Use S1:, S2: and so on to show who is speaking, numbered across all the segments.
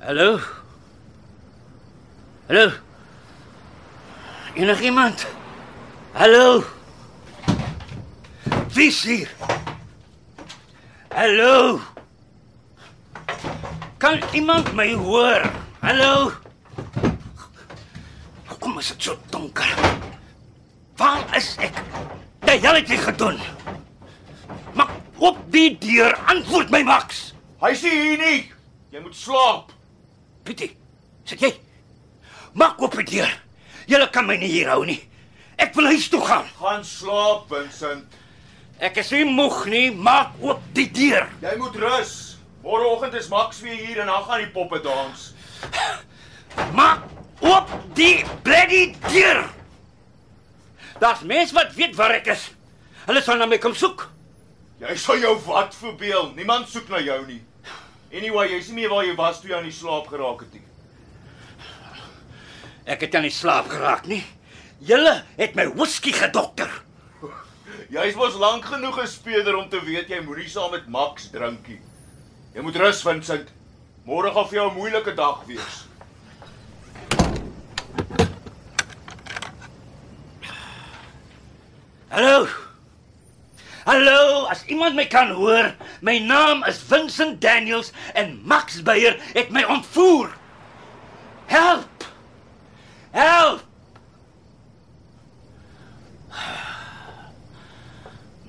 S1: Hallo? Hallo? Enigiemand? Hallo? Wie is hier? Hallo? Kan iemand my hoor? Hallo? Hoekom is dit so donker? Waar is ek? Wat het jy gedoen? Maak op die deur, antwoord my Max.
S2: Hy sê hier nie. Jy moet slaap.
S1: Pietie, sit jy? Maak op die deur. Julle kan my nie hier hou nie. Ek wil huis toe gaan.
S2: Gaan slaap, Vincent.
S1: Ek is nie moeg nie. Maak oop die deur.
S2: Jy moet rus. Môreoggend is Max weer hier en dan gaan die poppe dans.
S1: Maak oop die bloody deur. Daar's mense wat weet waar ek is. Hulle sal na my kom soek.
S2: Jy sal jou wat verbeel. Niemand soek na jou nie. Anyway, jy's nie meer waar jy was toe jy aan die slaap geraak het nie.
S1: Ek het aan die slaap geraak nie. Julle het my whisky gedokter.
S2: Jy's mos lank genoeg 'n speeder om te weet jy moenie saam met Max drinkie. Jy moet rus, Vincent. Môre gaan vir jou 'n moeilike dag wees.
S1: Hallo. Hallo, as iemand my kan hoor, my naam is Vincent Daniels en Max Beyer het my ontvoer. Help! Help!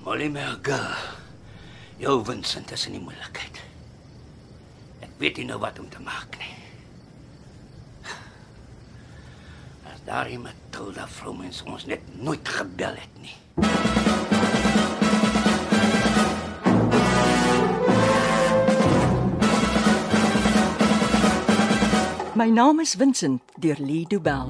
S1: Molly Merga. Jou Vincent is in die moeilikheid. Ek weet nie nou wat om te maak nie. As daar iemand Tilda Vromens ons net nooit gebel het nie.
S3: My naam is Vincent deur Lee Du Bell.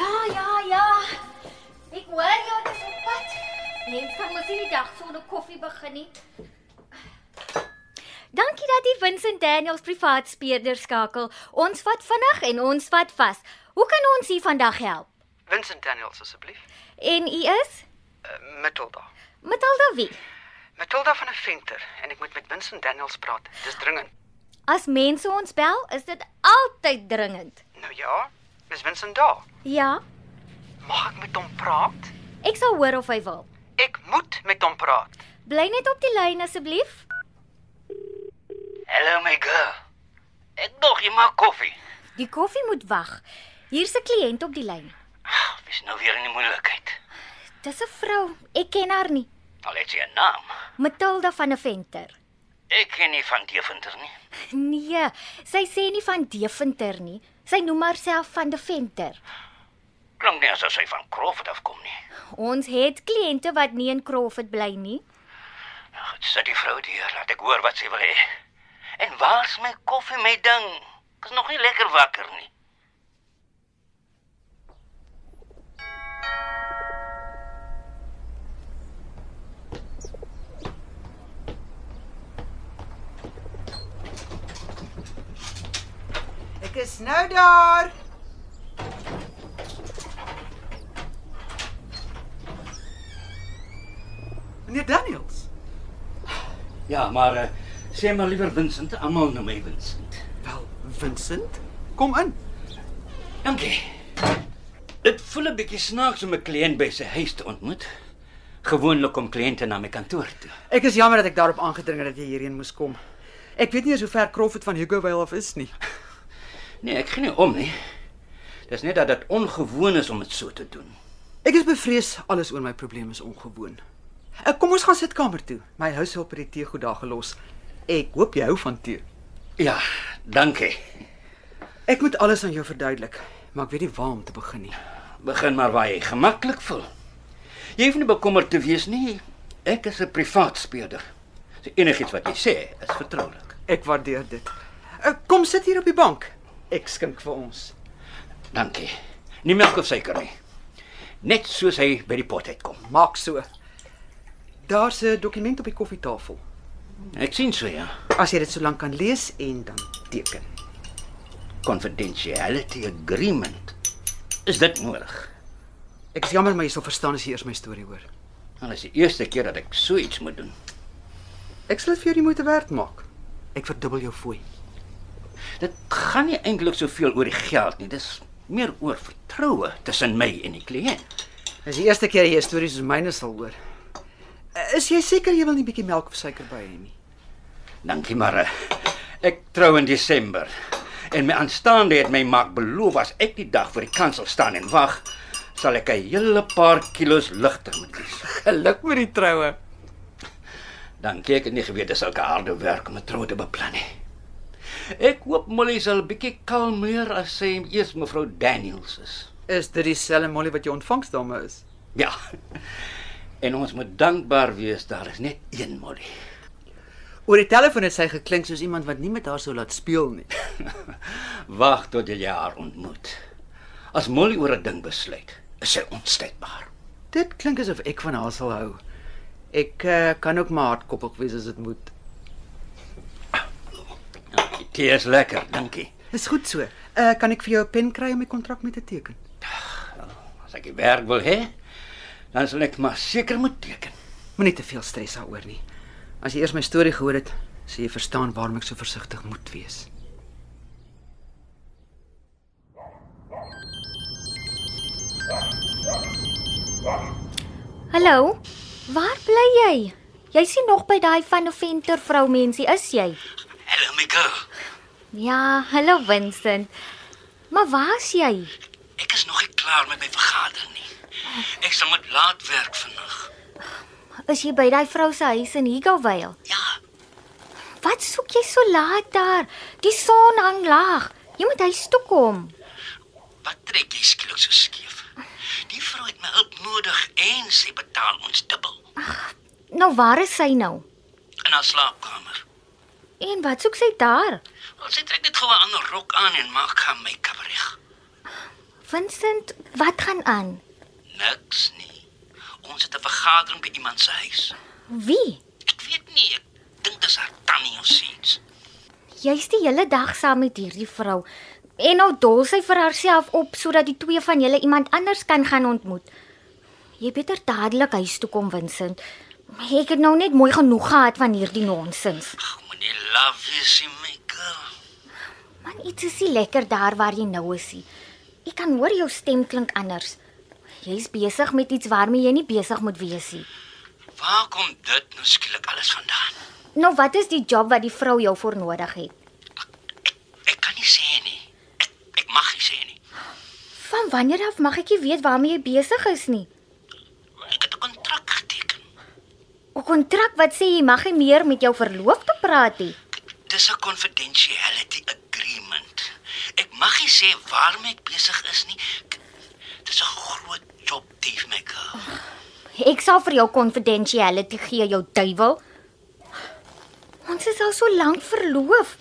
S4: Ja, ja, ja. Ek hoor jou dis op pad. Mens kan mos nie die dag sonder koffie begin nie.
S5: Dankie dat jy Vincent Daniels privaat speurder skakel. Ons vat vinnig en ons vat vas. Hoe kan ons u vandag help?
S6: Vincent Daniels asseblief.
S5: En u is
S6: Uh, Matilda.
S5: Matilda wie?
S6: Matilda van 'n venter en ek moet met Vincent Daniels praat. Dis dringend.
S5: As mense ons bel, is dit altyd dringend.
S6: Nou ja, is Vincent daar?
S5: Ja,
S6: Mag ek met hom praat?
S5: ek sal hoor of hy wil.
S6: Ek moet met hom praat.
S5: Bly net op die lyn asseblief.
S1: Hallo my girl. Ek dog jy maak koffie.
S5: Die koffie moet wag. Hier's 'n kliënt op die lyn.
S1: Dis nou weer in die moeilikheid.
S5: Dis 'n vrou. Ek ken haar nie.
S1: Al het jy 'n naam.
S5: Matilda van 'n venter.
S1: Ek ken nie van Deventer nie.
S5: Nee, sy sê nie van Deventer nie. Sy noem haarself van Deventer.
S1: Klink nie asof sy van Crawford afkom nie.
S5: Ons het kliënte wat nie in Crawford bly nie.
S1: Nou goed, sit die vrou deur, laat ek hoor wat sy wil hê. En waar's my koffie, my ding? Ek is nog nie lekker wakker nie.
S7: Ek is nou daar. Meneer Daniels,
S1: Ja, maar uh, sê maar liewer Vincent, almal noem my Vincent.
S7: wel Vincent, kom in.
S1: Dankie. Dit voel 'n bietjie snaaks om 'n kliënt by sy huis te ontmoet. Gewoonlik kom kliënte na my kantoor toe.
S7: Ek is jammer dat ek daarop aangedring het dat jy hierheen moes kom. Ek weet nie eens hoe ver Crawford van Hugovale af is nie.
S1: Nee, ek gee nie om nie. Dis net dat dit ongewoon is om dit so te doen.
S7: Ek is bevrees alles oor my probleem is ongewoon. Ek kom ons gaan sitkamer toe. My huishulp het die tee goed daar gelos. Ek hoop jy hou van tee.
S1: Ja, dankie.
S7: Ek moet alles aan jou verduidelik, maar ek weet nie waar om te begin nie.
S1: Begin maar waar jy gemaklik voel. Jy hoef nie bekommerd te wees nie. Ek is 'n privaat speurder. So enigiets wat jy sê is vertroulik.
S7: Ek waardeer dit. Uh, Kom sit hier op die bank. Ek skink vir ons.
S1: Dankie. Nie melk of suiker nie. Net soos hy by die pot uitkom.
S7: Maak so. Daar's 'n dokument op die koffietafel.
S1: Ek sien so ja.
S7: As jy dit so lank kan lees en dan teken.
S1: Confidentiality agreement. Is dit nodig?
S7: Ek is jammer maar jy sal verstaan as jy eers my storie hoor.
S1: Al is die eerste keer dat ek so iets moet doen.
S7: Ek sal dit vir jou die moeite werd maak. Ek verdubbel jou fooi.
S1: Dit gaan nie eintlik soveel oor die geld nie. Dis meer oor vertroue tussen my en die kliënt.
S7: Dis die eerste keer jy 'n storie soos myne sal hoor. Eh, Is jy seker jy wil nie 'n bietjie melk of suiker by hê nie?
S1: Dankie maar eh, ek trou in Desember. En my aanstaande het my maak beloof as ek die dag voor die kansel staan en wag, sal ek 'n hele paar kilos ligter moet kies.
S7: Geluk met die troue.
S1: Dankie, ek het nie geweet dis sulke harde werk om 'n trou te beplan nie. Ek hoop Molly sal bietjie kalmeer as sy eers mevrou Daniels is.
S7: Is dit dieselfde molly wat jou ontvangsdame is?
S1: Ja. En ons moet dankbaar wees daar is net een Molly.
S7: Oor die telefoon het sy geklink soos iemand wat nie met haar sou laat speel nie.
S1: Wag tot jy haar ontmoet. As Molly oor 'n ding besluit, is sy onstuitbaar.
S7: Dit klink asof ek van haar sal hou. Ek uh, kan ook maar hardkoppig wees as dit moet.
S1: Ja, die tee is lekker, dankie.
S7: Dis goed so. Uh, kan ek vir jou 'n pen kry om die kontrak mee te teken?
S1: As ek die werk wil hê, dan sal ek maar seker moet teken.
S7: Moenie te veel stres daaroor nie. As jy eers my storie gehoor het, sal jy verstaan waarom ek so versigtig moet wees.
S5: Hallo. Waar bly jy? Jy sien nog by daai van 'n venter vrou mensie is jy?
S1: Hallo my girl.
S5: Ja, hallo Vincent. Maar waar's jy?
S1: Ek is nog nie klaar met my vergadering nie. Ek sal moet laat werk vandag.
S5: Is jy by daai vrou se huis in Higgovale?
S1: Ja,
S5: Wat soek jy so laat daar? Die son hang laag. Jy moet huis toe kom.
S1: wat trek jy skielik so skeef? Die vrou het my hulp nodig en sy betaal ons dubbel
S5: Nou waar is sy nou?
S1: in haar slaapkamer.
S5: En wat soek sy daar?
S1: Ons het trek net gou 'n ander rok aan en maak haar make-up reg.
S5: Vincent, wat gaan aan?
S1: Niks nie. Ons het 'n vergadering by iemand se huis.
S5: Wie?
S1: Ek weet nie, ek dink dis haar tannie of so iets.
S5: Jy's die hele dag saam met hierdie vrou. En nou dol sy vir haarself op sodat die twee van julle iemand anders kan gaan ontmoet. Jy beter dadelik huis toe kom, Vincent. Ek het nou net mooi genoeg gehad van hierdie nonsens.
S1: Ag, moenie laf wees, nie, my girl.
S5: Man, iets is nie lekker daar waar jy nou is nie. Ek kan hoor jou stem klink anders. Jy's besig met iets waarmee jy nie besig moet wees nie.
S1: Waar kom dit nou skielik alles vandaan?
S5: Nou wat is die job wat die vrou jou voor nodig het?
S1: Ek kan nie sê nie. Ek, ek mag nie sê nie.
S5: Van wanneer af mag ek nie weet waarmee jy besig is nie?
S1: Ek het 'n kontrak geteken.
S5: 'n Kontrak wat sê jy mag nie meer met jou verloofde praat nie.
S1: Dis 'n confidentiality agreement. Ek mag nie sê waarmee ek besig is nie. K- Dis 'n groot job, dief my girl.
S5: Ek sal vir jou confidentiality gee, jou duiwel. Ons is al so lank verloof.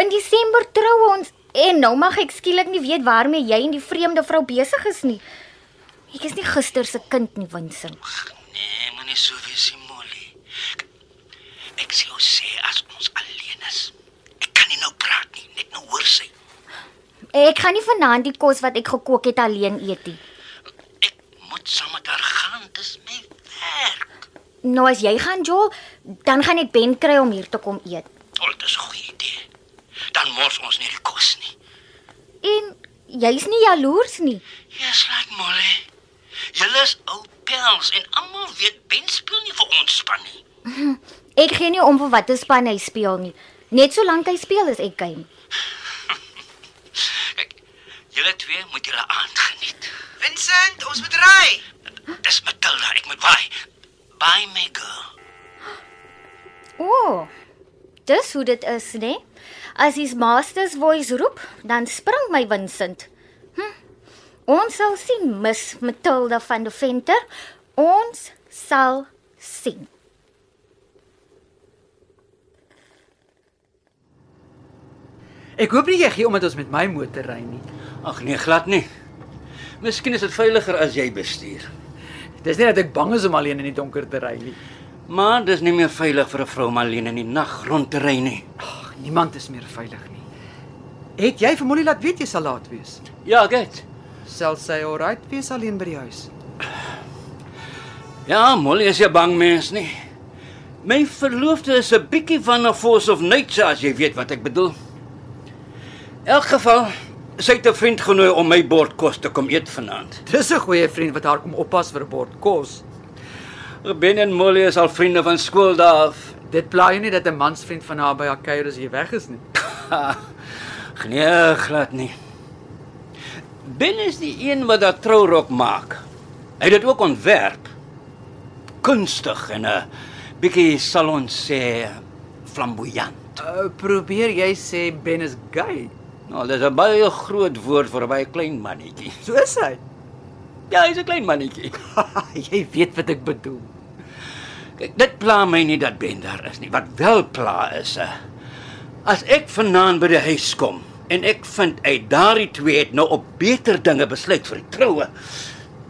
S5: In Desember trou ons en nou mag ek skielik nie weet waarmee jy en die vreemde vrou besig is nie. Ek is nie gister se kind nie, Winsin.
S1: Nee, moenie so wees, nie, Molly. K- Ek sê ons sê as ons alleen is. Ek kan nie nou praat nie, net nou hoor sy.
S5: Ek gaan nie vanaand die kos wat ek gekook het alleen eet nie.
S1: Ek moet saam met haar gaan, dis my werk.
S5: Nou as jy gaan Joel, dan gaan ek Ben kry om hier te kom eet.
S1: O, oh, dis 'n goeie idee. Dan mors ons nie die kos nie.
S5: En jy's nie jaloers nie.
S1: Ja, slaat Molly. Julle is ou pels en almal weet Ben speel nie vir ons span nie.
S5: Ek gee nie om vir watter span hy speel nie. Net solank hy speel is ek game.
S1: Kyk, julle twee moet julle aand geniet.
S8: Vincent, ons moet ry.
S1: Dis Matilda, ek moet waai. Bye my girl.
S5: O. Oh, dis hoe dit is, né? As his master's voice roep, dan spring my Vincent. Hm. Ons sal sien, Miss Matilda van der Venter. Ons sal sien.
S7: Ek hoop nie jy gee omdat ons met my motor ry nie.
S1: Ag nee, glad nie. Miskien is dit veiliger as jy bestuur.
S7: Dis nie dat ek bang is om alleen in die donker te ry nie.
S1: Maar dis nie meer veilig vir 'n vrou om alleen in die nag rond te ry nie.
S7: Ag, niemand is meer veilig nie. Het jy vir Molly laat weet jy sal laat wees?
S1: Ja, gits.
S7: Sal sy alright wees alleen by die huis?
S1: Ja, Molly is 'n bang mens nie. My verloofde is 'n bietjie van 'n force of nature as jy weet wat ek bedoel. In elk geval, sy het 'n vriend genooi om my bord kos te kom eet vanaand.
S7: Dis 'n goeie vriend wat haar kom oppas vir 'n bord kos.
S1: Ben en Molly is al vriende van skool daaf. af.
S7: Dit pla jou nie dat 'n mansvriend van haar by haar kuier as jy weg is nie.
S1: Ha, Nee, glad nie. Ben is die een wat dat trourok maak. Hy het dit ook ontwerp. Kunstig en 'n bietjie salon sê flamboyant.
S7: Uh, probeer jy sê Ben is gay?
S1: Nou, dis 'n baie groot woord vir 'n baie klein mannetjie.
S7: So is hy.
S1: Ja, hy's 'n klein mannetjie.
S7: jy weet wat ek bedoel.
S1: Kyk, dit pla my nie dat Ben daar is nie. Wat wel pla is, eh, as ek vanaand by die huis kom en ek vind uit daardie twee het nou op beter dinge besluit vir die troue.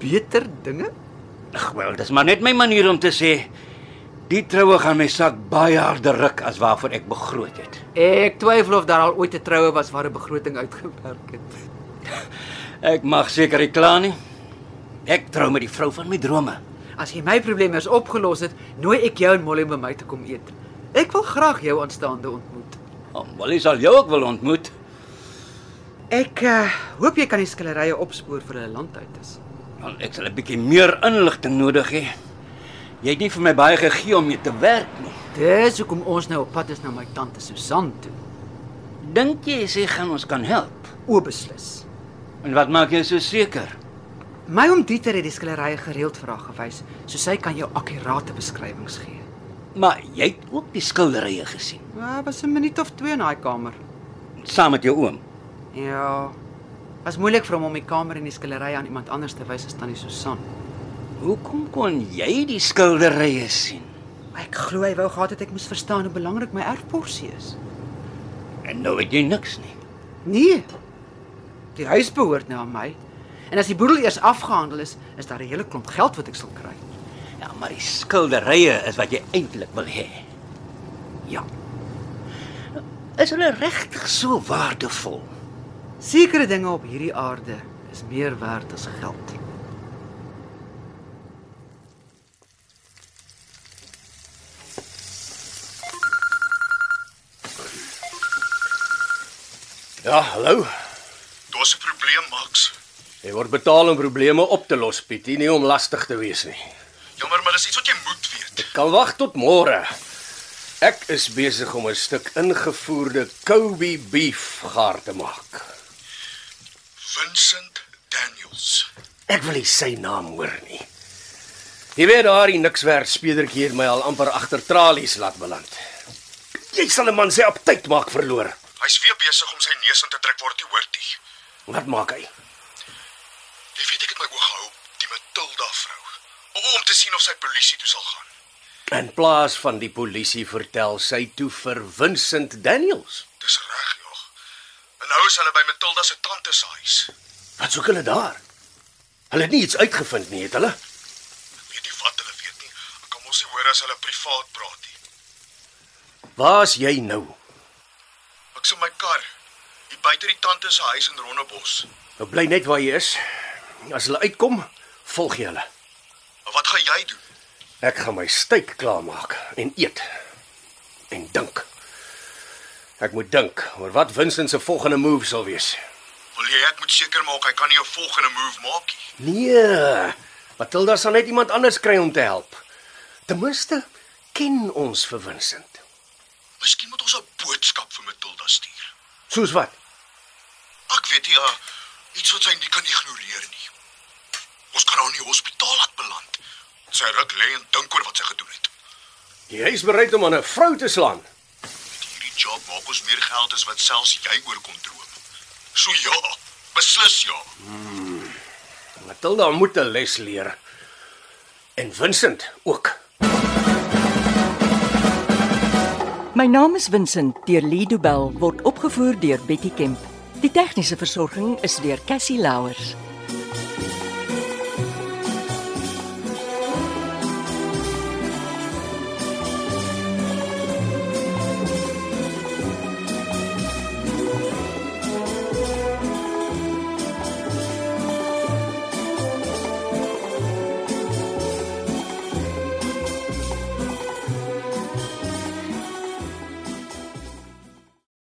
S7: Beter dinge?
S1: Ag wel, dis maar net my manier om te sê die troue gaan my sak baie harder ruk as waarvoor ek begroot het.
S7: Ek twyfel of daar al ooit 'n troue was waar 'n begroting uitgewerk het.
S1: Ek mag seker nie kla nie. Ek trou met die vrou van my drome.
S7: As jy my probleme eens opgelos het, nooi ek jou en Molly om by my te kom eet. Ek wil graag jou aanstaande ontmoet.
S1: Oh, Molly sal jou ook wil ontmoet.
S7: Ek uh, hoop jy kan die skillerye opspoor vir hulle landuit is.
S1: Wel, ek sal 'n bietjie meer inligting nodig hê. Jy het nie vir my baie gegee om mee te werk nie.
S7: Dis hoekom ons nou op pad is na my tante Susan toe.
S1: Dink jy sy gaan ons kan help?
S7: O beslis.
S1: En wat maak jou so seker?
S7: My oom Dieter het die skillerye gereeld vir haar gewys, so sy kan jou akkurate beskrywings gee.
S1: Maar jy het ook die skilderye gesien,
S7: Ja, was 'n minuut of 2 in daai kamer.
S1: saam met jou oom.
S7: Ja. Was moeilik vir hom om die kamer en die skillerye aan iemand anders te wys as tannie Susan.
S1: Hoekom kon jy die skilderye sien?
S7: Ek glo hy wou gehad het ek moes verstaan hoe belangrik my erfporsie is.
S1: En nou weet jy niks nie.
S7: Nee. Die huis behoort nou aan my. En as die boedel eers afgehandel is, is daar 'n hele klomp geld wat ek sal kry.
S1: Ja, maar die skilderye is wat jy eintlik wil hê.
S7: Ja.
S1: Is hulle regtig so waardevol?
S7: Sekere dinge op hierdie aarde is meer werd as geld.
S9: Ja, hallo.
S2: Daar's 'n probleem, Max.
S9: Jy word betaal om probleme op te los, Pietie, nie om lastig te wees nie.
S2: Jammer, maar dis iets wat jy moet weet.
S9: Kan wag tot môre. Ek is besig om 'n stuk ingevoerde Kobe beef gaar te maak.
S2: Vincent Daniels.
S9: Ek wil nie sy naam hoor nie. Jy weet daai nikswerf spedertjie het my al amper agter tralies laat beland. Jy sal 'n man sy aptyd maak verloor.
S2: Hy's weer besig om sy neus in te druk waar dit hoort nie.
S9: Wat maak hy?
S2: Jy weet ek het my oog gehou op die Matilda vrou o- om te sien of sy polisie toe sal gaan.
S9: In plaas van die polisie vertel sy toe vir Vincent Daniels.
S2: Dis reg, ja. En nou is hulle by Matilda se tante se huis.
S9: Wat soek hulle daar? Hulle het nie iets uitgevind nie, het hulle?
S2: Weet nie wat hulle weet nie. Ek kan mos nie hoor as hulle privaat praat nie.
S9: Waar's jy nou?
S2: Ek sien my kar hier buite die tante se huis in Rondebos.
S9: Nou bly net waar jy is. As hulle uitkom, volg jy hulle.
S2: Maar wat gaan jy doen?
S9: Ek gaan my steak klaarmaak en eet en dink. Ek moet dink oor wat Vincent se volgende move sal wees.
S2: Wil jy ek moet seker maak hy kan nie 'n volgende move maak nie.
S9: Nee, Matilda sal net iemand anders kry om te help. Ten minste ken ons vir Vincent.
S2: Miskien moet ons 'n boodskap vir Matilda stuur.
S9: Soos wat?
S2: Ek weet nie, uh, iets wat sy nie kan ignoreer nie. Ons kan haar nie hospitaal laat beland. Sy ruk lê en dink oor wat sy gedoen het.
S9: Jy is bereid om aan 'n vrou te slaan.
S2: Met hierdie job maak ons meer geld as wat selfs jy oor kon droom. So ja, beslis ja.
S9: Matilda moet 'n les leer. En Vincent ook.
S3: My naam is Vincent deur Lido Bell word opgevoer deur Betty Kemp. Die tegniese versorging is deur Cassie Louers.